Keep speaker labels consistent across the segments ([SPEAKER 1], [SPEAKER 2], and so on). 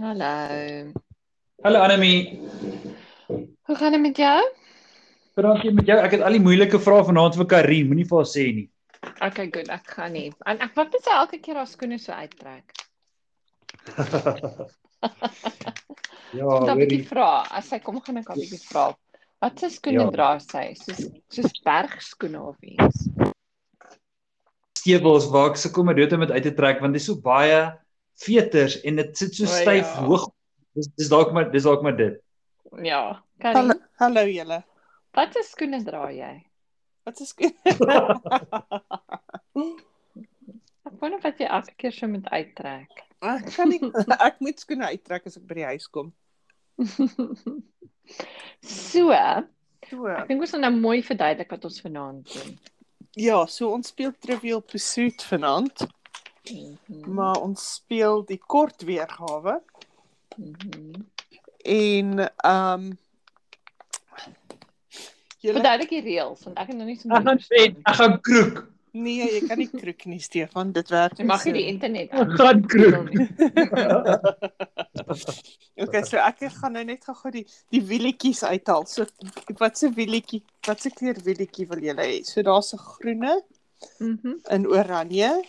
[SPEAKER 1] Hallo.
[SPEAKER 2] Hallo Anemie.
[SPEAKER 1] Hoe gaan dit met jou?
[SPEAKER 2] Dankie met jou. Ek het al die moeilike vrae vanaand vir Karin, moenie vir haar sê nie.
[SPEAKER 1] Okay, good. Ek gaan nie. En ek wat net sy elke keer haar skoene so uittrek. Ek
[SPEAKER 2] Ja,
[SPEAKER 1] moet 'n
[SPEAKER 2] hoorie.
[SPEAKER 1] bietjie vra. As sy kom gaan ek haar bietjie vra. Wat se skoene
[SPEAKER 2] Ja.
[SPEAKER 1] dra sy? Soos soos bergskoene of iets.
[SPEAKER 2] Stewels waar ek sukkel met dit om dit uit te trek want dis so baie veters en dit sit so
[SPEAKER 1] O,
[SPEAKER 2] styf
[SPEAKER 1] ja.
[SPEAKER 2] hoog. Dis dis dalk maar dis dalk maar dit.
[SPEAKER 1] Ja.
[SPEAKER 3] Hallo,
[SPEAKER 1] Karin,
[SPEAKER 3] hallo julle.
[SPEAKER 1] wat se skoene dra jy?
[SPEAKER 3] Wat is goed?
[SPEAKER 1] Ek wonder wat jy elke keer so moet uittrek.
[SPEAKER 3] Ek kan nie ek moet skoene uittrek as ek by die huis kom.
[SPEAKER 1] so, ek
[SPEAKER 3] So.
[SPEAKER 1] dink ons gaan nou mooi verduidelik wat ons vanaand doen.
[SPEAKER 3] Ja, so ons speel Trivial Pursuit vanaand,
[SPEAKER 1] Mhm,
[SPEAKER 3] maar ons speel die kort weergawe
[SPEAKER 1] mhm.
[SPEAKER 3] en ehm um, julle
[SPEAKER 1] Verduidelik die reëls want ek het nog nie so
[SPEAKER 2] Ek gaan sê ek gaan kroek.
[SPEAKER 3] nee, jy kan nie kroek nie Stefan, dit werk
[SPEAKER 1] Jy mag nie die
[SPEAKER 3] so.
[SPEAKER 1] internet
[SPEAKER 2] Ek gaan kroek.
[SPEAKER 3] Okay, so ek gaan nou net gou-gou die die wielietjies uithaal. So wat se wielietjie, wat se kleur wielietjie wil julle hê? So daar's 'n groene,
[SPEAKER 1] Mhm.
[SPEAKER 3] 'n oranje,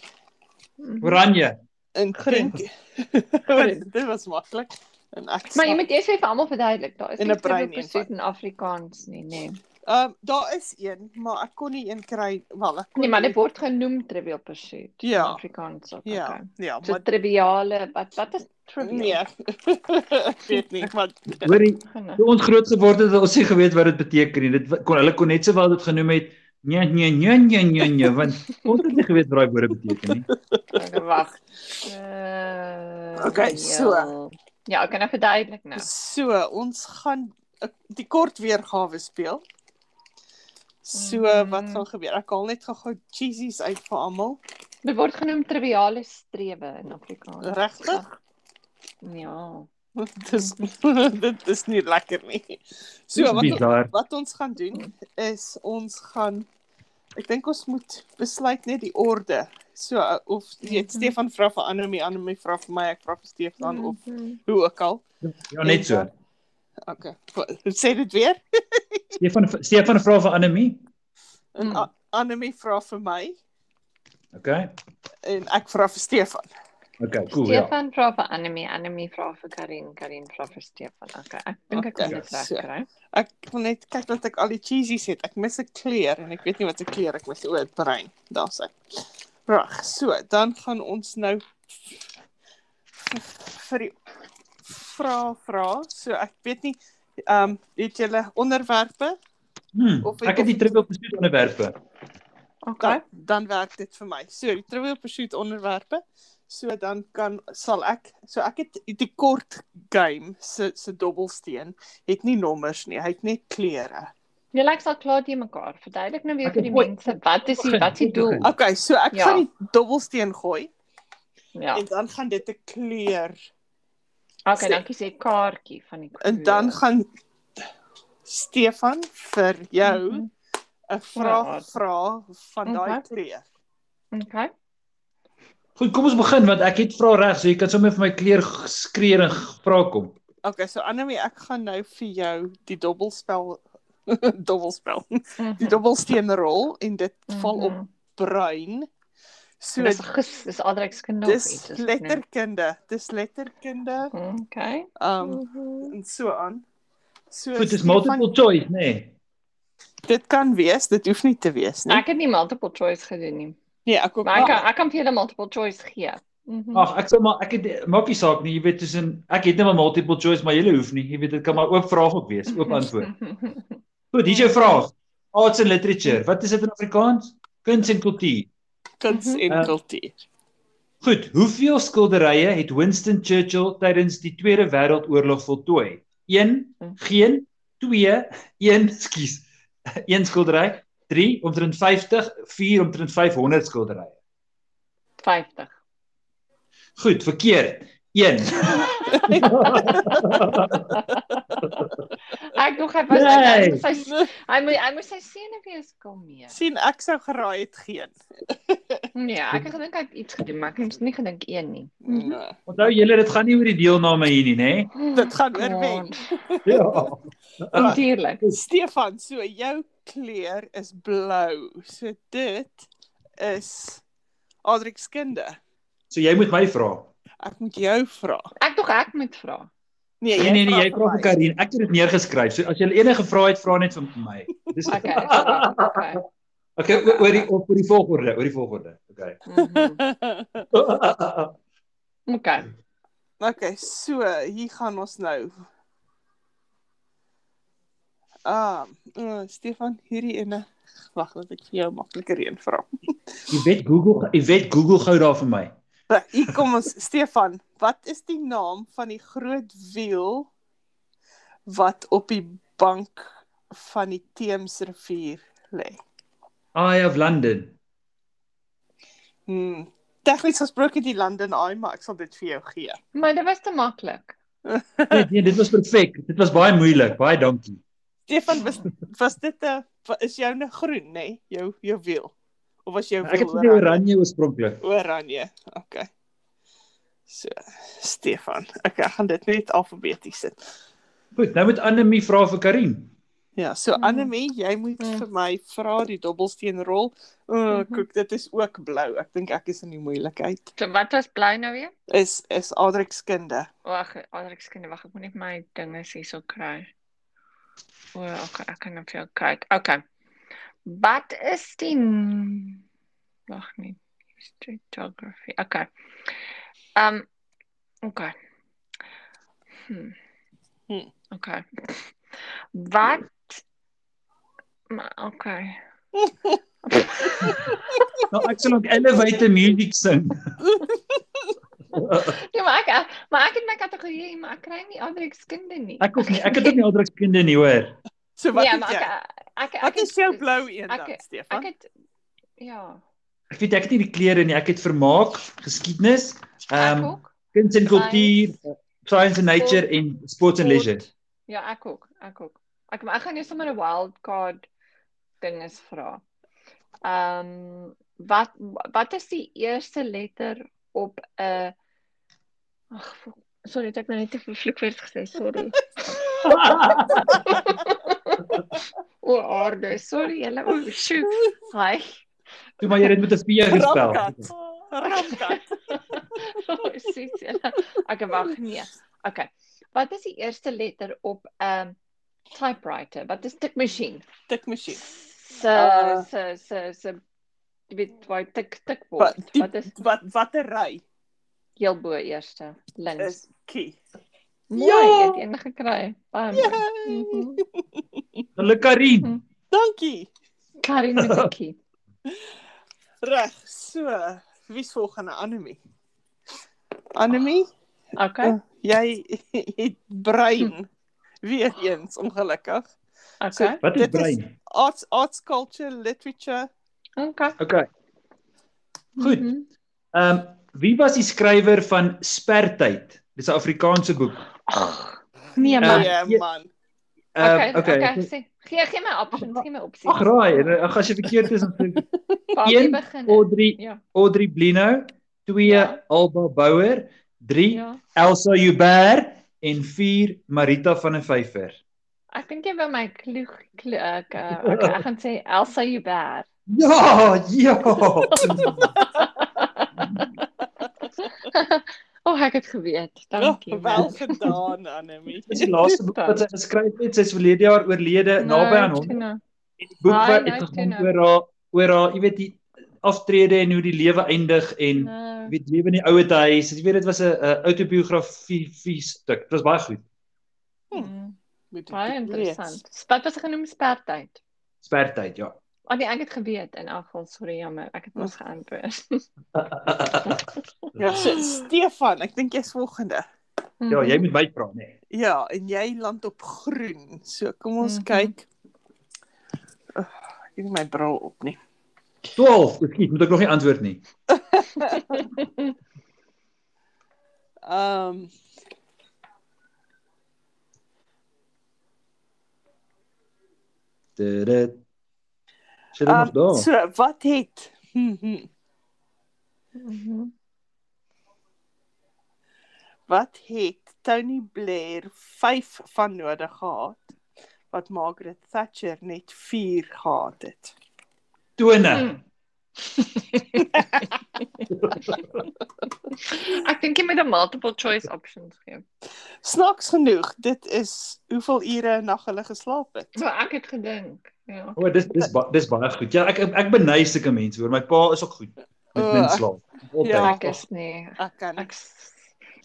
[SPEAKER 2] Oranje.
[SPEAKER 3] in
[SPEAKER 1] Groen.
[SPEAKER 3] pink.
[SPEAKER 1] Groen.
[SPEAKER 3] dit was maklik. En ek
[SPEAKER 1] Maar jy moet eers even almal verduidelik. Daar is
[SPEAKER 3] In
[SPEAKER 1] nie
[SPEAKER 3] 'n brein
[SPEAKER 1] Trivial Pursuit in Afrikaans nie, nê. Nee.
[SPEAKER 3] um, daar is een, maar ek kon nie een kry wel ek kon
[SPEAKER 1] nee, maar dit word genoem Trivial Pursuit
[SPEAKER 3] Ja.
[SPEAKER 1] in Afrikaans ook.
[SPEAKER 3] Ja,
[SPEAKER 1] Okay.
[SPEAKER 3] ja,
[SPEAKER 1] So
[SPEAKER 3] maar
[SPEAKER 1] triviale, wat wat is
[SPEAKER 3] nee.
[SPEAKER 1] trivial?
[SPEAKER 3] ek weet nie, maar
[SPEAKER 2] Hoorie,
[SPEAKER 1] Nee.
[SPEAKER 2] toe ons groot geword het, het ons nie geweet wat dit beteken nie. Dit kon hulle kon net sowel dit genoem het nee nee nee nee nee nee want ons het nie geweet wat daai woorde beteken nie.
[SPEAKER 1] Okay, wag. Uh,
[SPEAKER 3] Okay, so.
[SPEAKER 1] Ja, ek kan dit verduidelik nou.
[SPEAKER 3] so ons gaan ek- die kort weergawe speel. So wat
[SPEAKER 1] Mm.
[SPEAKER 3] gaan gebeur? Ek haal net gou-gou cheesies uit vir almal.
[SPEAKER 1] Dit word genoem triviale strewe in Afrikaans.
[SPEAKER 3] Regtig?
[SPEAKER 1] Ja.
[SPEAKER 3] Dis dit is nie lekker nie. So wat
[SPEAKER 2] bizar.
[SPEAKER 3] wat ons gaan doen is ons gaan ek dink ons moet besluit net die orde. So uh, of jy weet
[SPEAKER 1] Mhm.
[SPEAKER 3] Stefan vra vir Anomie, Anomie vra vir my, ek vra vir Stefan mm. of
[SPEAKER 1] Mhm.
[SPEAKER 3] hoe ook al.
[SPEAKER 2] Ja net so.
[SPEAKER 3] Okay. Sê dit weer.
[SPEAKER 2] Stefan Stefan vra vir Anemie.
[SPEAKER 3] En
[SPEAKER 1] Mm.
[SPEAKER 3] mm. Anomie vra vir my
[SPEAKER 2] Okay.
[SPEAKER 3] en ek vra vir Stefan.
[SPEAKER 2] Okay, cool. Ja.
[SPEAKER 1] Stefan vra vir Anemie, Anemie vra vir Karin, Karin vra vir Stefan. Okay, ek dink ek kan
[SPEAKER 3] Okay,
[SPEAKER 1] dit
[SPEAKER 3] Ja, so.
[SPEAKER 1] regkry.
[SPEAKER 3] Ek wil net kyk dat ek al die cheesies het. Ek mis 'n kleur en ek weet nie wat 'n kleur ek mis oor brein. Daar's hy. Reg. So, dan gaan ons nou vir die vra vra. So ek weet nie ehm um, het julle onderwerpe?
[SPEAKER 2] Hmm,
[SPEAKER 3] Of-
[SPEAKER 2] ek het die triple pursuit onderwerpe.
[SPEAKER 1] Okay.
[SPEAKER 3] Dan, dan werk dit vir my. So, die trivial pursuit onderwerpe. So dan kan sal ek so ek het die kort game se se dobbelsteen het nie nommers nie. Hy het net kleure.
[SPEAKER 1] Jy lyk al klaar te mekaar. Verduidelik nou weer
[SPEAKER 2] Ek
[SPEAKER 1] vir die
[SPEAKER 2] gooi-
[SPEAKER 1] mense wat is die wat is die doel?
[SPEAKER 3] Okay, so ek
[SPEAKER 1] Ja.
[SPEAKER 3] ja. gaan die dobbelsteen gooi
[SPEAKER 1] Ja.
[SPEAKER 3] ja. en dan gaan dit 'n kleur
[SPEAKER 1] Okay, dankie sê kaartjie van die
[SPEAKER 3] en dan
[SPEAKER 1] kleur.
[SPEAKER 3] gaan Stefan vir jou 'n
[SPEAKER 1] Mhm.
[SPEAKER 3] vraag
[SPEAKER 1] Ja. Mhm.
[SPEAKER 3] vra van daai
[SPEAKER 1] Okay.
[SPEAKER 3] kleur.
[SPEAKER 1] Okay.
[SPEAKER 2] Goed, kom ons begin want ek het vra reg, so jy kan sommer vir my kleur g- skree en g- vra kom.
[SPEAKER 3] Okay, so Annelie, ek gaan nou vir jou die dobbelspel dobbelspel. Die
[SPEAKER 1] Mhm.
[SPEAKER 3] dobbelsteen rol en dit val op
[SPEAKER 1] Mhm.
[SPEAKER 3] bruin. So
[SPEAKER 1] Dis gis, dis aardrykskunde of
[SPEAKER 3] dis
[SPEAKER 1] iets. is dit nie?
[SPEAKER 3] letterkunde, dis letterkunde.
[SPEAKER 1] Okay.
[SPEAKER 3] Um
[SPEAKER 1] Mhm.
[SPEAKER 3] en so aan. So
[SPEAKER 2] Goed, dis
[SPEAKER 3] Stefan-
[SPEAKER 2] multiple choice, nê. Nee.
[SPEAKER 3] Dit kan wees, dit hoef nie te wees nie.
[SPEAKER 1] Ek het nie multiple choice gedoen nie.
[SPEAKER 3] Nee, ek ook.
[SPEAKER 1] Maar ek kan,
[SPEAKER 3] Maar,
[SPEAKER 1] ek kan vir julle multiple choice gee. Mhm.
[SPEAKER 2] Ag, ek sê maar ek het maak nie saak nie, jy weet tussen ek het net maar multiple choice, maar jy hoef nie. Jy weet dit kan maar oop vraag ook wees, oop antwoord. Goed, hier's jou vraag. Arts and literature. Wat is dit in Afrikaans? Kuns en kultuur.
[SPEAKER 3] kuns en
[SPEAKER 2] Eh.
[SPEAKER 3] kultuur.
[SPEAKER 2] Goed, hoeveel skilderye het Winston Churchill tydens die Tweede Wêreldoorlog voltooi? 1, geen, 2, 1, skus. 1 skildery, 3 omtrent 50, 4 omtrent 500 skilderye.
[SPEAKER 1] 50.
[SPEAKER 2] Goed, verkeerd. 1.
[SPEAKER 1] Ek nog hy was
[SPEAKER 2] Nee.
[SPEAKER 1] hy sy hy moet hy moet sy seën wees kom mee.
[SPEAKER 3] sien ek sou geraai het geen.
[SPEAKER 1] Nee, ek het gedink hy het iets gedoen, maar ek het nie gedink een nie.
[SPEAKER 3] Nee.
[SPEAKER 2] Onthou julle, dit gaan nie oor die deelname hier nie, nee? nê?
[SPEAKER 3] Dit gaan
[SPEAKER 1] Ja.
[SPEAKER 3] oor wen.
[SPEAKER 2] Ja.
[SPEAKER 1] Natuurlik.
[SPEAKER 3] Stefan, so jou kleur is blou. So dit is Adrix skinde.
[SPEAKER 2] So jy moet my vra.
[SPEAKER 3] Ek moet jou vra.
[SPEAKER 1] Ek tog ek moet vra.
[SPEAKER 2] Nee nee nee, jy vra vir
[SPEAKER 3] my.
[SPEAKER 2] Karin. Ek het dit neergeskryf. So as jy enige vrae het, vra net vir my. Dis
[SPEAKER 1] Okay. okay.
[SPEAKER 2] Okay, oor oor die oor die volgorde, oor die volgorde. Okay.
[SPEAKER 1] Mhm. Okay.
[SPEAKER 3] okay, so hier gaan ons nou. Ah, uh, Stefan, hierdie ene. Wag, laat ek vir jou 'n makliker een vra.
[SPEAKER 2] Jy weet Google, jy weet Google gou daar vir my.
[SPEAKER 3] Maar Hier kom ons Stefan, wat is die naam van die groot wiel wat op die bank van die Theemsrivier lê?
[SPEAKER 2] Eye of London.
[SPEAKER 3] Hmm. Tegnies gesproke die London Eye, maar ek sal dit vir jou gee.
[SPEAKER 1] Maar dit was te maklik.
[SPEAKER 2] Nee, nee, dit was perfek. Dit was baie moeilik. Baie dankie.
[SPEAKER 3] Stefan, was was dit 'n wa- is jou nou groen, nê? Nee? Jou jou wiel. Of was jou wiel
[SPEAKER 2] Ek het vir die oranje oorspronklik.
[SPEAKER 3] Oranje. Okay. So, Stefan. Okay, ek gaan dit net alfabeties sit.
[SPEAKER 2] Goed, nou moet Annelie vra vir Karin.
[SPEAKER 3] Ja, so
[SPEAKER 1] Mm.
[SPEAKER 3] Annelie, jy moet
[SPEAKER 1] Mm.
[SPEAKER 3] vir my vra die dubbelsteenrol. O, oh,
[SPEAKER 1] Mhm.
[SPEAKER 3] kyk, dit is ook blou. Ek dink ek is in die moeilikheid.
[SPEAKER 1] So wat was bly nou weer?
[SPEAKER 3] Is is Adrix kunde.
[SPEAKER 1] Wag, Alex kan wag, ek moet net my dinge hierso kry. O, okay, ek kan op jou kyk. Okay. Wat is die n- Wag nee. nie. Street geography. Okay. Um okay. Hmm.
[SPEAKER 3] Hmm.
[SPEAKER 1] Okay. Wat maar okay.
[SPEAKER 2] Nou ek sal ook elevator music sing.
[SPEAKER 1] Ja, maar ek maar ek het my kategorie, maar ek kry nie ander ekskinde nie.
[SPEAKER 2] Ek ook nie. Ek het ook nie aandrukskunde nie hoor.
[SPEAKER 3] So wat
[SPEAKER 1] ja,
[SPEAKER 3] ja,
[SPEAKER 1] maar
[SPEAKER 3] is jy?
[SPEAKER 1] ek, ek ek
[SPEAKER 3] Wat
[SPEAKER 1] het-
[SPEAKER 3] is jou blou een dan,
[SPEAKER 1] ek-
[SPEAKER 3] Stefan?
[SPEAKER 1] Ek het ja,
[SPEAKER 2] Ek weet ek het nie die kleure nie. Ek het vermaak, geskiedenis,
[SPEAKER 1] ek
[SPEAKER 2] ehm um,
[SPEAKER 1] ook.
[SPEAKER 2] kuns en kultuur, science and nature en sports and leisure.
[SPEAKER 1] Kort. Ja, ek ook, ek ook. Ek maar ek gaan net sommer 'n wildcard ding is vra. Ehm um, wat wat is die eerste letter op 'n Ag, fu- sorry, het ek nou net 'n vervloekwoord gesê, sorry. O aarde, sorry julle. O, sjoe. Hi.
[SPEAKER 2] Toe maar jy het dit met 'n P gespel.
[SPEAKER 3] Ramkat. Oh, Ramkat.
[SPEAKER 1] Presies julle. Ek wag nee. Okay. Wat is die eerste letter op 'n um, typewriter? Wat is tikmasjien?
[SPEAKER 3] Tikmasjien.
[SPEAKER 1] se
[SPEAKER 3] Uh,
[SPEAKER 1] se se se jy weet waar jy tik tik
[SPEAKER 3] Wat
[SPEAKER 1] word.
[SPEAKER 3] die-
[SPEAKER 1] Wat is
[SPEAKER 3] Wat watter ry
[SPEAKER 1] heel bo eerste links?
[SPEAKER 3] is key?
[SPEAKER 1] Mooi,
[SPEAKER 3] Ja!
[SPEAKER 1] jy het een gekry. Baie mooi. Mhm.
[SPEAKER 2] Geluk Karin.
[SPEAKER 3] Dankie.
[SPEAKER 1] Karin met die kie.
[SPEAKER 3] Reg. So, wie's volgende Anemie? Anemie,
[SPEAKER 1] Okay.
[SPEAKER 3] jy het
[SPEAKER 1] Hm.
[SPEAKER 3] brein weer eens ongelukkig.
[SPEAKER 1] Okay.
[SPEAKER 2] Wat is
[SPEAKER 3] Dit is-
[SPEAKER 2] brein?
[SPEAKER 3] Arts arts culture literature.
[SPEAKER 1] Okay.
[SPEAKER 2] Okay. Goed.
[SPEAKER 1] Mhm.
[SPEAKER 2] Ehm um, wie was die skrywer van Spertyd? Dis 'n Afrikaanse boek.
[SPEAKER 1] Ag. Nee
[SPEAKER 2] Ja.
[SPEAKER 1] man.
[SPEAKER 3] Ja man.
[SPEAKER 2] Ehm,
[SPEAKER 1] Okay, okay. sê- Gee gee my opsies, gee my opsies.
[SPEAKER 2] Ag raai, en, eh, ag as jy verkeerd is dan
[SPEAKER 1] Barbie
[SPEAKER 2] een,
[SPEAKER 1] begin.
[SPEAKER 2] Audrey
[SPEAKER 1] Ja.
[SPEAKER 2] Audrey Blino, 2
[SPEAKER 1] Ja.
[SPEAKER 2] Alba Bouwer, 3
[SPEAKER 1] Ja.
[SPEAKER 2] Elsa Huber en 4 Marita van der Vyver.
[SPEAKER 1] Ek dink jy by my kloeg kloeg. Okay, ek gaan sê Elsa Huber.
[SPEAKER 2] Ja, ja.
[SPEAKER 1] O, oh, ek het geweet. Dankie.
[SPEAKER 3] Oh,
[SPEAKER 1] man.
[SPEAKER 3] wel gedaan Anemie.
[SPEAKER 2] Dis die laaste boek wat sy geskryf het. Sy is verlede jaar oorlede
[SPEAKER 1] Nou,
[SPEAKER 2] Eh, naby aan hom.
[SPEAKER 1] Tina.
[SPEAKER 2] En die boek
[SPEAKER 1] Ai,
[SPEAKER 2] wat
[SPEAKER 1] nou,
[SPEAKER 2] het gegaan
[SPEAKER 1] Tina.
[SPEAKER 2] oor haar oor haar, jy weet die aftrede en hoe die lewe eindig en
[SPEAKER 1] Nou.
[SPEAKER 2] jy weet lewe in die ouer huis. Jy weet dit was 'n 'n autobiografie vie stuk. Dit was baie goed.
[SPEAKER 3] Hmm.
[SPEAKER 1] Mm,
[SPEAKER 3] Moet ek
[SPEAKER 1] Baie
[SPEAKER 3] dit
[SPEAKER 1] interessant. Wat was genoem spertyd?
[SPEAKER 2] Spertyd, ja.
[SPEAKER 1] Oh nee, ek het geweet in afval, sorry jammer, ek
[SPEAKER 3] Hm.
[SPEAKER 1] het mos geantwoord.
[SPEAKER 3] lees? Ja, so, Stefan, ek dink jy's volgende.
[SPEAKER 2] Ja,
[SPEAKER 1] Mhm.
[SPEAKER 2] jy moet my vra, nê. Nee.
[SPEAKER 3] Ja, en jy land op groen. So kom ons
[SPEAKER 1] Mhm.
[SPEAKER 3] kyk. Oh, ek het nie my bril op nie.
[SPEAKER 2] 12, ek moet ek nog nie antwoord nie.
[SPEAKER 3] Ehm um,
[SPEAKER 2] Dit. Sit
[SPEAKER 3] um,
[SPEAKER 2] nog daar.
[SPEAKER 3] ehm,
[SPEAKER 1] Ehm,
[SPEAKER 3] so wat het? Mhm.
[SPEAKER 1] Mhm.
[SPEAKER 3] Wat het Tony Blair 5 van nodig gehad wat Margaret Thatcher net 4 gehad het?
[SPEAKER 2] Tone.
[SPEAKER 1] Mm. Ek dink jy moet 'n multiple choice options gee.
[SPEAKER 3] Snaaks genoeg, dit is hoeveel ure 'n nag hulle geslaap het.
[SPEAKER 1] So ek het gedink, ja.
[SPEAKER 2] O, dis dis ba dis baie goed. Ja, ek ek beny sulke mense hoor. My pa is ook goed met
[SPEAKER 3] O,
[SPEAKER 2] min
[SPEAKER 3] ek-
[SPEAKER 2] slaap.
[SPEAKER 3] Ja.
[SPEAKER 2] Altyd.
[SPEAKER 1] Oh. Ek is nie.
[SPEAKER 3] Ek kan
[SPEAKER 1] Ek s-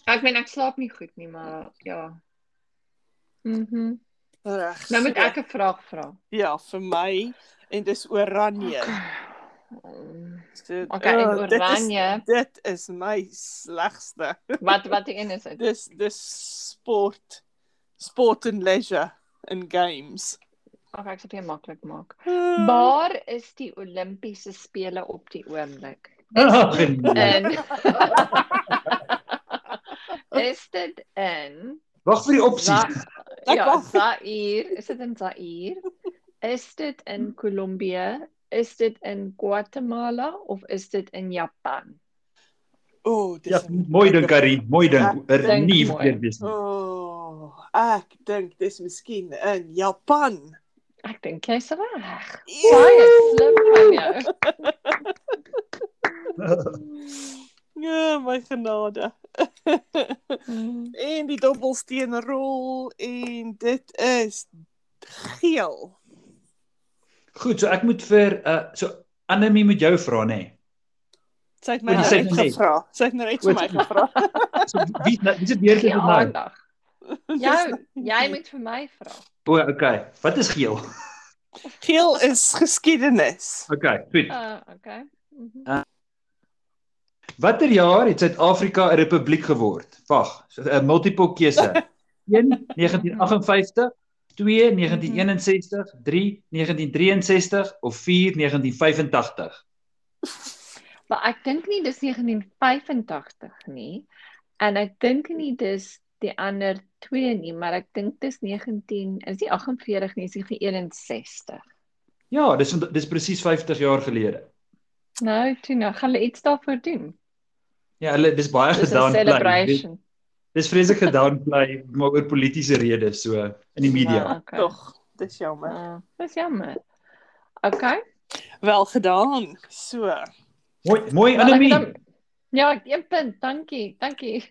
[SPEAKER 1] ek meen ek slaap nie goed nie, maar ja. Mhm.
[SPEAKER 3] reg.
[SPEAKER 1] Nou moet
[SPEAKER 3] so-
[SPEAKER 1] ek 'n vraag vra.
[SPEAKER 3] ja, vir my en dis oranje.
[SPEAKER 1] Ehm,
[SPEAKER 3] So,
[SPEAKER 1] Okay, en
[SPEAKER 3] o, Ja. dit is-
[SPEAKER 1] oranje.
[SPEAKER 3] Dit is my slegste.
[SPEAKER 1] Wat wat die een is dit?
[SPEAKER 3] Dis dis sport. Sport en leisure en games.
[SPEAKER 1] Ag ek sal dit maklik maak.
[SPEAKER 3] Ba
[SPEAKER 1] Waar is die Olimpiese spele op die oomblik?
[SPEAKER 2] Ag, nee.
[SPEAKER 1] In Is dit in
[SPEAKER 2] Wag vir die opsies.
[SPEAKER 1] Za-
[SPEAKER 3] Ek
[SPEAKER 1] Ja,
[SPEAKER 3] wag.
[SPEAKER 1] Zaire, is dit in Zaire? Is dit in Kolumbie? Is dit in Guatemala of is dit in Japan?
[SPEAKER 3] O, oh, dis
[SPEAKER 2] Ja,
[SPEAKER 3] een-
[SPEAKER 2] mooi ding Karin, mooi ding.
[SPEAKER 3] Ek
[SPEAKER 2] Er
[SPEAKER 1] Ja, dink
[SPEAKER 2] nie
[SPEAKER 1] mooi.
[SPEAKER 2] verkeerd wees
[SPEAKER 3] O,
[SPEAKER 2] nie.
[SPEAKER 3] oh, ek dink dis miskien in Japan.
[SPEAKER 1] Ek dink jy's reg. Baie
[SPEAKER 3] Eeuw.
[SPEAKER 1] slim van jou.
[SPEAKER 3] Ja, my genade. en die dobbelsteen rol en dit is geel.
[SPEAKER 2] Goed, so ek moet vir uh so Annelie moet jou vra nê. Nee.
[SPEAKER 3] Sy het my
[SPEAKER 2] Wat
[SPEAKER 3] nou
[SPEAKER 2] is dit net?
[SPEAKER 3] uitgevra. Sy het nou uit vir my
[SPEAKER 2] Wat-
[SPEAKER 3] gevra.
[SPEAKER 2] So, wie nou, dis weer dit
[SPEAKER 1] Die
[SPEAKER 2] nou.
[SPEAKER 1] aandag. Jou, jy moet vir my vra.
[SPEAKER 2] O, okay. Wat is geel?
[SPEAKER 3] Geel is geskiedenis.
[SPEAKER 2] Okay, goed.
[SPEAKER 1] Uh, okay. Mhm.
[SPEAKER 2] Watter jaar het Suid-Afrika 'n republiek geword? Wag, so, 'n multiple keuse. 1 1958, 2 1961, 3 1963 of 4 1985.
[SPEAKER 1] Maar ek dink nie dis 1985 nie en ek dink nie dis die ander twee nie, maar ek dink dis 19 is nie 48 nie, is nie 61.
[SPEAKER 2] Ja, dis dis presies 50 jaar gelede.
[SPEAKER 1] Nou, toe nou gaan hulle iets daarvoor doen.
[SPEAKER 2] Ja, hulle dis baie
[SPEAKER 1] Dis 'n
[SPEAKER 2] gedownplay. Dis,
[SPEAKER 1] celebration.
[SPEAKER 2] dis vreeslik gedownplay maar oor politieke redes so in die media.
[SPEAKER 1] Ah, okay.
[SPEAKER 3] Tog, dis jammer.
[SPEAKER 1] Ah, dis jammer. Okay.
[SPEAKER 3] Wel gedaan. So.
[SPEAKER 2] Mooi mooi
[SPEAKER 1] Wel, Nou, ek het
[SPEAKER 2] Annelie.
[SPEAKER 1] hom- Ja, ek het een punt. Dankie. Dankie.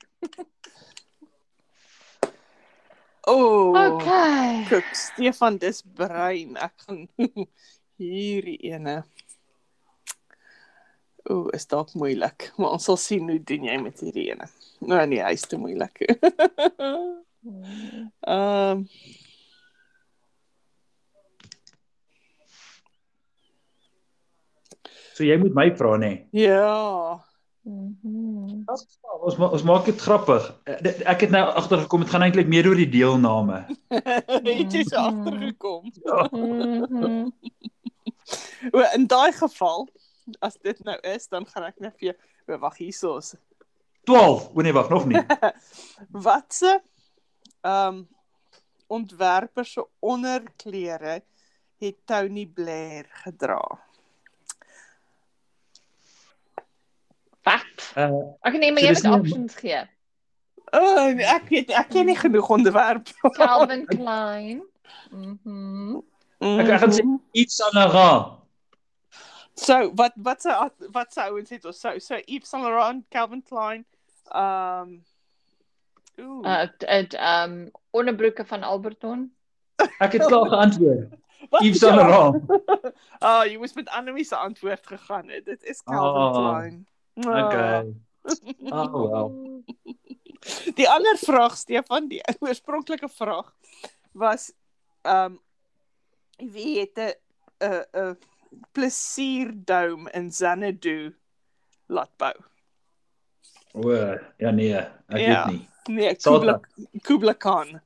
[SPEAKER 3] O. Oh,
[SPEAKER 1] Okay.
[SPEAKER 3] Kyk, Stefan, dis brein. Ek gaan hierdie ene. O, is dalk moeilik, maar ons sal sien hoe doen jy met hierdie ene. Nou nee, hy's te moeilik.
[SPEAKER 1] Mm,
[SPEAKER 3] Ehm
[SPEAKER 2] So jy moet my vra nê. Nee.
[SPEAKER 3] ja.
[SPEAKER 1] mhm.
[SPEAKER 2] Ons ons ma- ons maak dit grappig. Eh, dit- Ek het nou agtergekom dit gaan eintlik meer oor die deelname.
[SPEAKER 3] Het jy so agtergekom?
[SPEAKER 2] Ja.
[SPEAKER 1] Mhm.
[SPEAKER 3] O, in daai geval, as dit nou is, dan gaan ek net vir jou O, wag hierso. is-
[SPEAKER 2] 12. O nee, wag, nog nie.
[SPEAKER 3] Watse ehm um, ontwerper se onderklere het Tony Blair gedra?
[SPEAKER 1] Wat?
[SPEAKER 2] Uh,
[SPEAKER 1] Ek neem maar
[SPEAKER 2] So
[SPEAKER 1] jy
[SPEAKER 2] dis
[SPEAKER 1] moet
[SPEAKER 2] nie-
[SPEAKER 1] options gee.
[SPEAKER 3] O, oh, ek weet ek ken nie genoeg onderwerp.
[SPEAKER 1] Calvin Klein. Mhm.
[SPEAKER 2] Ek- ek gaan sê- Yves Saint Laurent.
[SPEAKER 3] Mhm. So, wat wat se wat se ouens het ons so so Yves Saint Laurent, Calvin Klein, ehm um, Ooh.
[SPEAKER 2] Ah,
[SPEAKER 1] Uh dit ehm onderbroeke van Alberton.
[SPEAKER 2] Ek het klaar geantwoord.
[SPEAKER 3] wat
[SPEAKER 2] Yves
[SPEAKER 3] is
[SPEAKER 2] Saint
[SPEAKER 3] jou-
[SPEAKER 2] Laurent.
[SPEAKER 3] Ah, oh, jy moes met Annelie se antwoord gegaan het. Dit is Calvin
[SPEAKER 2] Ah,
[SPEAKER 3] oh, Klein. Ah.
[SPEAKER 2] Okay. Oh well.
[SPEAKER 3] Die ander vraag Stefan, die oorspronklike vraag was ehm um, wie het 'n 'n 'n plesierdome in Xanadu laat bou?
[SPEAKER 2] O, ja nee, ek
[SPEAKER 3] Ja.
[SPEAKER 2] weet nie.
[SPEAKER 3] Nee,
[SPEAKER 2] Sultan.
[SPEAKER 3] Kubla Kubla Khan.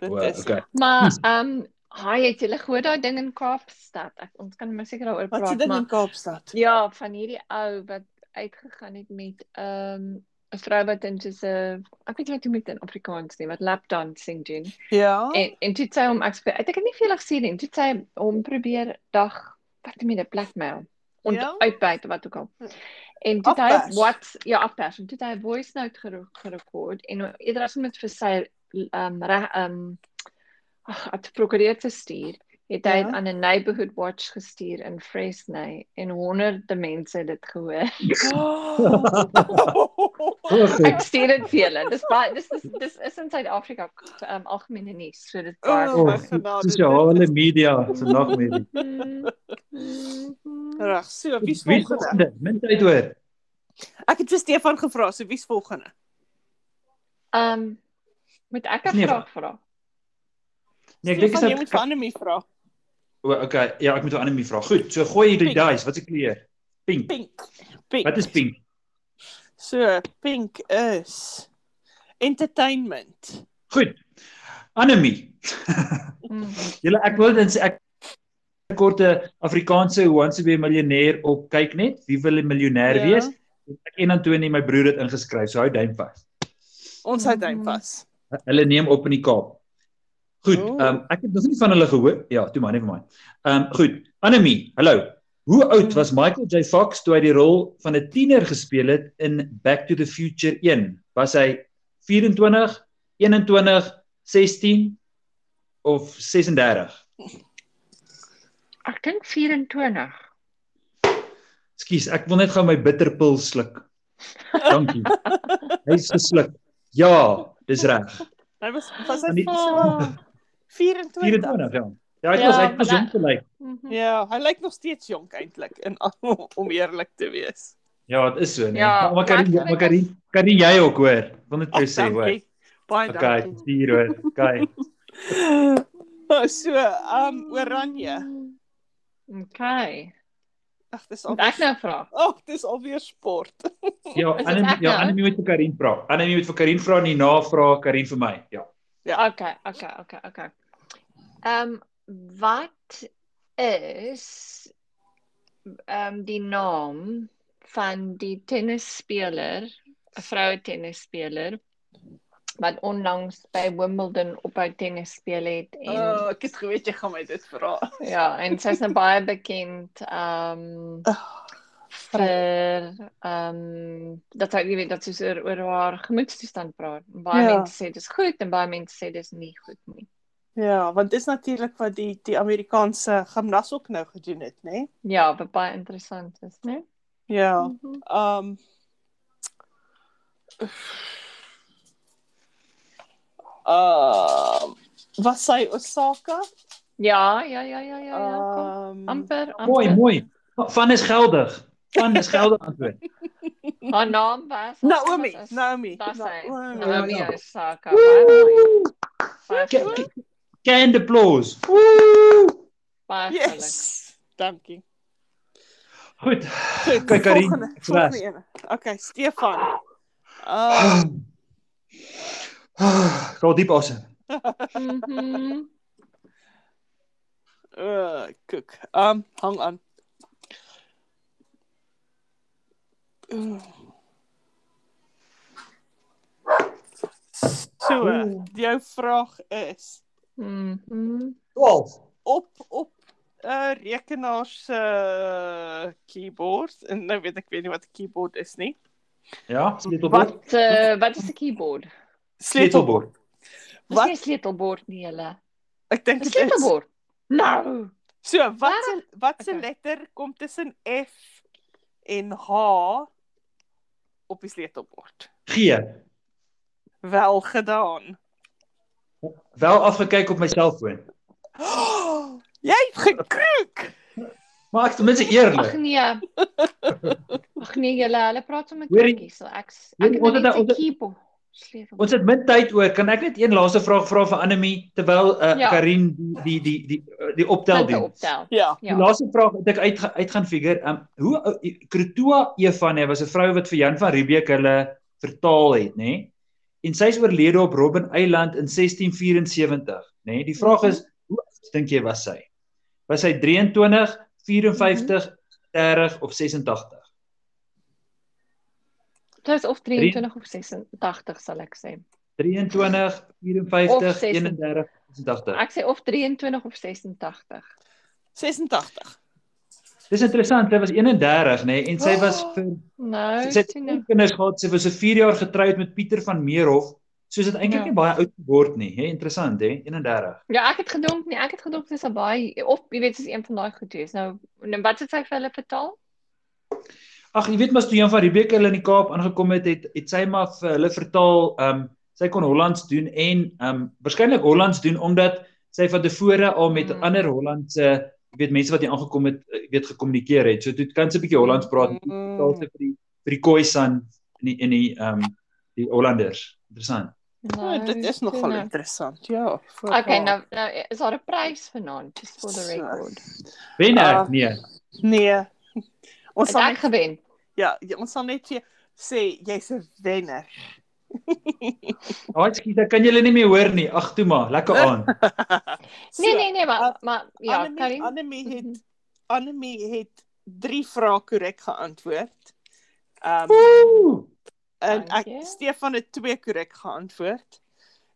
[SPEAKER 3] Dit
[SPEAKER 2] O,
[SPEAKER 3] is
[SPEAKER 2] okay.
[SPEAKER 1] Maar
[SPEAKER 3] Hmm.
[SPEAKER 1] ehm um, hy het julle gehoor daai ding in Kaapstad. Ek ons kan maar seker daaroor
[SPEAKER 3] Wat se
[SPEAKER 1] praat,
[SPEAKER 3] dit in
[SPEAKER 1] maar
[SPEAKER 3] Kaapstad?
[SPEAKER 1] ja, van hierdie ou wat uitgegaan het met ehm 'n vrou wat in soos 'n ek weet nie wat jy met in Afrikaans nie, wat lapdancing doen.
[SPEAKER 3] Ja.
[SPEAKER 1] En en toe het sy hom ek spe- ek het dit nie veel gesien nie. Toe het sy hom probeer dag wat meen 'n blackmail en
[SPEAKER 3] Ja.
[SPEAKER 1] uitbuit of wat ook al. En toe het hy
[SPEAKER 3] Afpers.
[SPEAKER 1] wat ja afpers en toe het hy 'n voice note gere- gerekord en eerder as om dit vir sy ehm reg ehm ag het prokureur te stuur het hy
[SPEAKER 3] Ja.
[SPEAKER 1] ja. aan 'n neighborhood watch gestuur in Fresno en honderde mense het dit gehoor. Ek stuur dit vir julle. Dis baie dis dis dis is in Suid-Afrika um, algemene nuus, so dit baie.
[SPEAKER 3] Oh, my
[SPEAKER 1] Oh,
[SPEAKER 3] God. genade,
[SPEAKER 2] Sosiale media se nagmerrie.
[SPEAKER 3] Mm-hmm. Reg, so wie's
[SPEAKER 2] Wie
[SPEAKER 3] volgende?
[SPEAKER 2] volgende? Min tyd hoor.
[SPEAKER 3] Ek het vir Stefan gevra, so wie's volgende?
[SPEAKER 1] Ehm um, moet ek 'n
[SPEAKER 2] Nee,
[SPEAKER 1] vraag vra?
[SPEAKER 2] Nee, ek dink
[SPEAKER 3] Stefan, jy moet
[SPEAKER 2] is
[SPEAKER 3] vir
[SPEAKER 2] dit
[SPEAKER 3] Annelie vra.
[SPEAKER 2] O, okay. Ja, ek moet 'n ander mie vra. Goed. So gooi jy die
[SPEAKER 3] Pink.
[SPEAKER 2] dice. Wat se kleur? Pink.
[SPEAKER 3] Pink. Pink.
[SPEAKER 2] Wat is pink?
[SPEAKER 3] So, pink is entertainment.
[SPEAKER 2] Goed. Anemie.
[SPEAKER 1] Mm.
[SPEAKER 2] Julle ek wil dan sê ek kort 'n Afrikaanse Who Wants to be a Millionaire op kyk net. Wie wil 'n miljonair
[SPEAKER 3] Ja.
[SPEAKER 2] ja. wees? Ek en Antoni my broer het ingeskryf. So hou duim vas.
[SPEAKER 3] Ons hou duim vas.
[SPEAKER 2] Hulle neem op in die Kaap. Goed. Ehm
[SPEAKER 3] Ooh.
[SPEAKER 2] um, ek het nog nie van hulle gehoor. Ja, toe maar net vir my. Ehm um, goed. Anemie. Hallo. Hoe
[SPEAKER 1] Hmm.
[SPEAKER 2] oud was Michael J Fox toe hy die rol van 'n tiener gespeel het in Back to the Future 1? Was hy 24, 21, 16 of 36?
[SPEAKER 1] Ek dink 24.
[SPEAKER 2] Skus, ek wil net gou my bitterpil sluk. Dankie. Hy's gesluk. Ja, dis reg.
[SPEAKER 3] Hy was was
[SPEAKER 2] Aan
[SPEAKER 3] hy
[SPEAKER 2] die-
[SPEAKER 3] ah, 24.
[SPEAKER 2] 24 ja. Ja, hy het
[SPEAKER 1] Ja,
[SPEAKER 2] was hy het was
[SPEAKER 1] maar-
[SPEAKER 2] jonk gelyk.
[SPEAKER 1] Mhm.
[SPEAKER 3] Ja, hy lyk nog steeds jonk eintlik in om eerlik te wees.
[SPEAKER 2] Ja, dit is so nee.
[SPEAKER 1] Ja,
[SPEAKER 2] Ja, maar kan
[SPEAKER 1] maar ek-
[SPEAKER 2] maar kan kan jy ook hoor? Wil net vir jou sê
[SPEAKER 3] Ag,
[SPEAKER 2] hoor.
[SPEAKER 3] dankie. Baie
[SPEAKER 2] Okay,
[SPEAKER 3] dankie.
[SPEAKER 2] hier hoor. Okay.
[SPEAKER 3] Okay. So, ehm um, oranje.
[SPEAKER 1] Okay.
[SPEAKER 3] Ag, dis
[SPEAKER 1] Mm. Moet
[SPEAKER 3] al
[SPEAKER 1] ek nou vra?
[SPEAKER 3] Ag, dis alweer sport.
[SPEAKER 2] Ja,
[SPEAKER 1] Is dit
[SPEAKER 2] Anne
[SPEAKER 1] ek
[SPEAKER 2] ja,
[SPEAKER 1] nou?
[SPEAKER 2] Anne moet vir Karin vra. Anne moet vir Karin vra en hierna vra Karin vir my. Ja.
[SPEAKER 1] Okay, okay, okay, okay. Ehm um, wat is ehm um, die naam van die tennisspeler, 'n vroue tennisspeler wat onlangs by Wimbledon ophou tennis speel het en
[SPEAKER 3] Oh, ek het geweet jy gaan my dit vra.
[SPEAKER 1] ja, en sy's nou baie bekend ehm um, vir ehm um, dat sy jy weet dat sy so oor, oor haar gemoedstoestand praat. En Baie
[SPEAKER 3] Ja.
[SPEAKER 1] ja. mense sê dis goed en baie mense sê dis nie goed nie.
[SPEAKER 3] Ja, want dis natuurlik wat die die Amerikaanse gimnas ook nou gedoen het, né? Nee?
[SPEAKER 1] Ja, wat baie interessant is, né?
[SPEAKER 3] Ja.
[SPEAKER 1] Mhm.
[SPEAKER 3] Ehm um, Ehm was sy Osaka?
[SPEAKER 1] Ja, ja, ja, ja, ja, ja. Kom.
[SPEAKER 3] Ehm
[SPEAKER 1] Amper, amper.
[SPEAKER 2] Mooi, mooi. Van is geldig. Van is geldig antwoord.
[SPEAKER 1] Haar naam Ah, was
[SPEAKER 3] Naomi,
[SPEAKER 1] was-
[SPEAKER 3] Naomi. oh,
[SPEAKER 1] Dis hy.
[SPEAKER 3] Naomi.
[SPEAKER 1] Naomi
[SPEAKER 2] ja.
[SPEAKER 1] Osaka. Baie mooi. Baie
[SPEAKER 2] Ca-
[SPEAKER 1] geluk,
[SPEAKER 2] ca- Canned applause. Woo!
[SPEAKER 1] Baie geluk.
[SPEAKER 3] Yes. Dankie.
[SPEAKER 2] Goed.
[SPEAKER 3] Goed,
[SPEAKER 2] Kyk, Karin,
[SPEAKER 3] volgende-
[SPEAKER 2] ek
[SPEAKER 3] volgende een. Okay, Stefan. Ehm
[SPEAKER 2] Gaan Ah, diep asem.
[SPEAKER 1] Mhm.
[SPEAKER 3] uh, kyk. Ehm hang aan. So, jou vraag is
[SPEAKER 1] Mhm.
[SPEAKER 2] 12.
[SPEAKER 3] op op 'n uh, rekenaar se keyboard en nou weet ek weet nie wat 'n keyboard is nie.
[SPEAKER 2] Ja, sleutelbord.
[SPEAKER 1] Wat eh, wat is 'n keyboard?
[SPEAKER 2] Sleutelbord.
[SPEAKER 1] Wat
[SPEAKER 3] Wat?
[SPEAKER 1] is 'n sleutelbord nie julle?
[SPEAKER 3] Ek dink
[SPEAKER 1] 'n
[SPEAKER 3] dit is.
[SPEAKER 1] Sleutelbord. Nou.
[SPEAKER 3] So, wat se wat se
[SPEAKER 1] Okay.
[SPEAKER 3] letter kom tussen F en H op die sleutelbord?
[SPEAKER 2] G.
[SPEAKER 3] Wel gedaan.
[SPEAKER 2] Wel afgekyk op my selfoon.
[SPEAKER 3] Oh, jy het gekroek.
[SPEAKER 2] Maar ek is ten minste
[SPEAKER 1] Ag
[SPEAKER 2] eerlik.
[SPEAKER 1] nee. Ag nee, julle, hulle praat sommer
[SPEAKER 2] Hoorie.
[SPEAKER 1] kikkie, so ek
[SPEAKER 2] Hoorie,
[SPEAKER 1] ek
[SPEAKER 2] ons
[SPEAKER 1] het net
[SPEAKER 2] het nou- ons
[SPEAKER 1] 'n
[SPEAKER 2] het-
[SPEAKER 1] keyboard. Sleutel.
[SPEAKER 2] Ons het min tyd oor. Kan ek net een laaste vraag vra vir Anemie terwyl uh,
[SPEAKER 1] Ja.
[SPEAKER 2] ja. Karin die die die die, die optel
[SPEAKER 1] punte
[SPEAKER 2] doen?
[SPEAKER 1] optel.
[SPEAKER 3] Ja.
[SPEAKER 2] Ja.
[SPEAKER 1] Ja.
[SPEAKER 2] Die laaste vraag wat ek uit uit gaan figure, um, hoe ou- Krutoa Evanne was 'n vrou wat vir Jan van Riebeeck hulle vertaal het, nê? Nee? En sy is oorlede op Robben Eiland in 1674, nê? Nee? Die vraag is, hoe oud dink jy was sy? Was sy 23, 54, 30 of 86?
[SPEAKER 1] Dit is of 23 of 86 sal ek sê.
[SPEAKER 2] 23,
[SPEAKER 1] Of
[SPEAKER 2] 54,
[SPEAKER 1] 36.
[SPEAKER 2] 31, 86.
[SPEAKER 1] Ek sê of 23 of 86.
[SPEAKER 3] 86.
[SPEAKER 2] Dis interessant, sy was 31, nê, nee, en sy was vir
[SPEAKER 1] Nou,
[SPEAKER 2] sy sy het
[SPEAKER 1] sien
[SPEAKER 2] twee
[SPEAKER 1] nou.
[SPEAKER 2] kinders gehad. Sy was vir 4 jaar getroud met Pieter van Meerhof. So is dit eintlik
[SPEAKER 1] Ja.
[SPEAKER 2] nie baie oud geword nie, hè? Interessant, hè? 31.
[SPEAKER 1] Ja, ek het gedink nee, ek het gedink dis al baie of jy weet dis een van daai goed wees. Nou, nou wat het sy vir hulle vertaal?
[SPEAKER 2] Ag, jy weet mos toe Jan van Riebeeck hulle in die Kaap aangekom het, het, het sy maar vir hulle vertaal, ehm um, sy kon Hollands doen en ehm um, waarskynlik Hollands doen omdat sy van tevore al met
[SPEAKER 1] Mm.
[SPEAKER 2] mm. ander Hollandse, jy weet mense wat hier aangekom het, eh, jy weet gekommunikeer het. So toe kan sy 'n bietjie Hollands
[SPEAKER 1] Mm.
[SPEAKER 2] praat,
[SPEAKER 3] Mm,
[SPEAKER 2] vertaal sy vir die vir die Khoisan in die, in die ehm um, die Hollanders. Interessant.
[SPEAKER 3] Ja, dit is nogal
[SPEAKER 1] sien nou.
[SPEAKER 3] interessant. Ja. vir
[SPEAKER 1] Okay,
[SPEAKER 3] haar.
[SPEAKER 1] nou nou is daar 'n prys vanaand just for the
[SPEAKER 3] So.
[SPEAKER 1] record.
[SPEAKER 2] Wen ek?
[SPEAKER 3] Ah.
[SPEAKER 2] Nee.
[SPEAKER 3] Nee.
[SPEAKER 1] Het
[SPEAKER 3] Ons sal
[SPEAKER 1] ek
[SPEAKER 3] net,
[SPEAKER 1] gewen.
[SPEAKER 3] ja, ja, ons sal net vir- sê jy's 'n wenner.
[SPEAKER 2] Ag, skiet, dan kan julle nie meer hoor nie. Ag toe maar,
[SPEAKER 1] Ah.
[SPEAKER 2] lekker aan.
[SPEAKER 1] Nee nee nee, maar
[SPEAKER 3] Ah,
[SPEAKER 1] maar ja,
[SPEAKER 3] Annemie,
[SPEAKER 1] Karin.
[SPEAKER 3] Annemie
[SPEAKER 1] Mhm.
[SPEAKER 3] het Annemie het 3 vrae korrek geantwoord. Ehm um,
[SPEAKER 2] Woe!
[SPEAKER 3] en ek
[SPEAKER 1] Dankie.
[SPEAKER 3] Stefan het 2 korrek geantwoord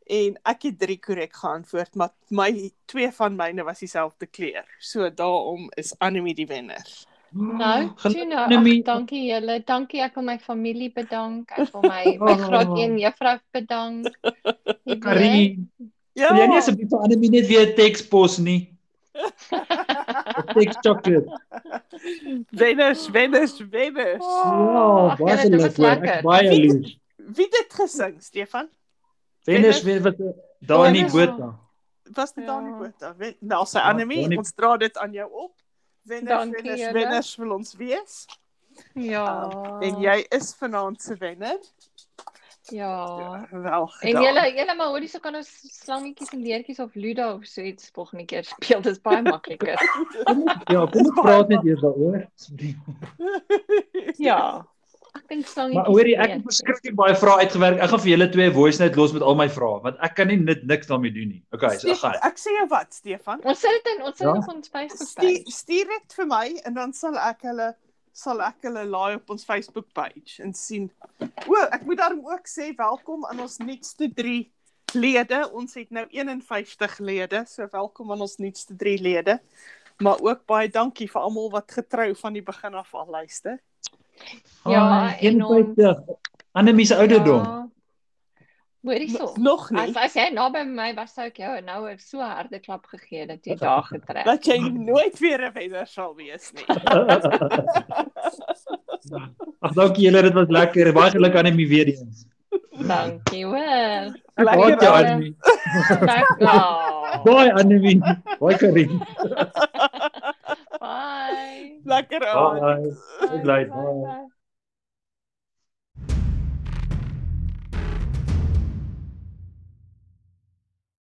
[SPEAKER 3] en ek het 3 korrek geantwoord, maar my twee van myne was dieselfde kleur. So daarom is Annemie die wenner.
[SPEAKER 1] Nou,
[SPEAKER 2] Gelukkig,
[SPEAKER 1] Tuna,
[SPEAKER 2] Annemie.
[SPEAKER 1] ag, dankie julle. Dankie, ek wil my familie bedank. Ek wil my my
[SPEAKER 2] Oh.
[SPEAKER 1] graad 1 juffrou bedank. Jy weet.
[SPEAKER 2] Karin.
[SPEAKER 1] nee.
[SPEAKER 3] Ja.
[SPEAKER 2] Wil jy nie asseblief vir Annelie net weer 'n teks pos nie? 'n Teks chocolate.
[SPEAKER 3] Wenners, wenners, wenners.
[SPEAKER 2] Ja,
[SPEAKER 1] Oh, ag, julle, dit was lekker.
[SPEAKER 2] baie lief.
[SPEAKER 3] Wie het dit gesing, Stefan?
[SPEAKER 2] Wenners weet wat eh, daar nie Botha.
[SPEAKER 3] Was dit
[SPEAKER 1] Ja.
[SPEAKER 3] Dani Botha? Wen- Nou sy
[SPEAKER 2] Ja,
[SPEAKER 3] Annemie,
[SPEAKER 2] Dani-
[SPEAKER 3] ons dra dit aan jou op. Wenners,
[SPEAKER 1] Dankie
[SPEAKER 3] wenners,
[SPEAKER 1] julle.
[SPEAKER 3] wenners wil ons wees.
[SPEAKER 1] Ja.
[SPEAKER 3] Ah, En jy is vanaand se wenner.
[SPEAKER 1] ja.
[SPEAKER 3] Wel
[SPEAKER 1] En
[SPEAKER 3] gedaan.
[SPEAKER 1] julle julle maar hoorie so kan ons slangetjies en leertjies of ludo of so iets volgende keer speel. Dit is baie makliker.
[SPEAKER 2] Ja, kom ons praat net eers daaroor asseblief.
[SPEAKER 1] ja. Ek dink slangetjies.
[SPEAKER 2] Maar hoorie,
[SPEAKER 1] en
[SPEAKER 2] ek het
[SPEAKER 1] leertjies.
[SPEAKER 2] verskriklik baie vrae uitgewerk. Ek gaan vir julle twee voice note los met al my vrae, want ek kan nie net niks daarmee doen nie. Okay, so ek
[SPEAKER 3] Stefan,
[SPEAKER 2] gaan.
[SPEAKER 3] ek sê jou wat, Stefan.
[SPEAKER 1] Ons sit dit in, ons sit dit
[SPEAKER 2] Ja.
[SPEAKER 1] op ons
[SPEAKER 3] Stuur
[SPEAKER 1] Facebook.
[SPEAKER 3] stuur dit vir my en dan sal ek hulle sal ek hulle laai op ons Facebook page en sien. O, ek moet daarom ook sê welkom aan ons nuutste 3 lede. Ons het nou 51 lede, so welkom aan ons nuutste 3 lede. Maar ook baie dankie vir almal wat getrou van die begin af al luister.
[SPEAKER 1] Ja,
[SPEAKER 2] Ah,
[SPEAKER 1] en ons-
[SPEAKER 2] 51. Annelie se ouderdom.
[SPEAKER 1] Hoorie so.
[SPEAKER 3] Nog nie.
[SPEAKER 1] As as jy naby my was, sou ek jou nou 'n so harde klap gegee dat jy daar getrek.
[SPEAKER 3] Dat jy nooit weer 'n wenner sal wees nie.
[SPEAKER 2] Ag, dankie julle, dit was lekker. Baie geluk Annelie weer eens.
[SPEAKER 1] Dankie hoor.
[SPEAKER 3] Lekker
[SPEAKER 2] Baie
[SPEAKER 1] Annelie.
[SPEAKER 2] Annelie.
[SPEAKER 1] Dankie.
[SPEAKER 2] Baie Annelie. Baie Karin.
[SPEAKER 1] Bye.
[SPEAKER 3] Lekker aan.
[SPEAKER 2] Oh,
[SPEAKER 3] Ja,
[SPEAKER 2] Bye. Bye. Bye.
[SPEAKER 1] bye.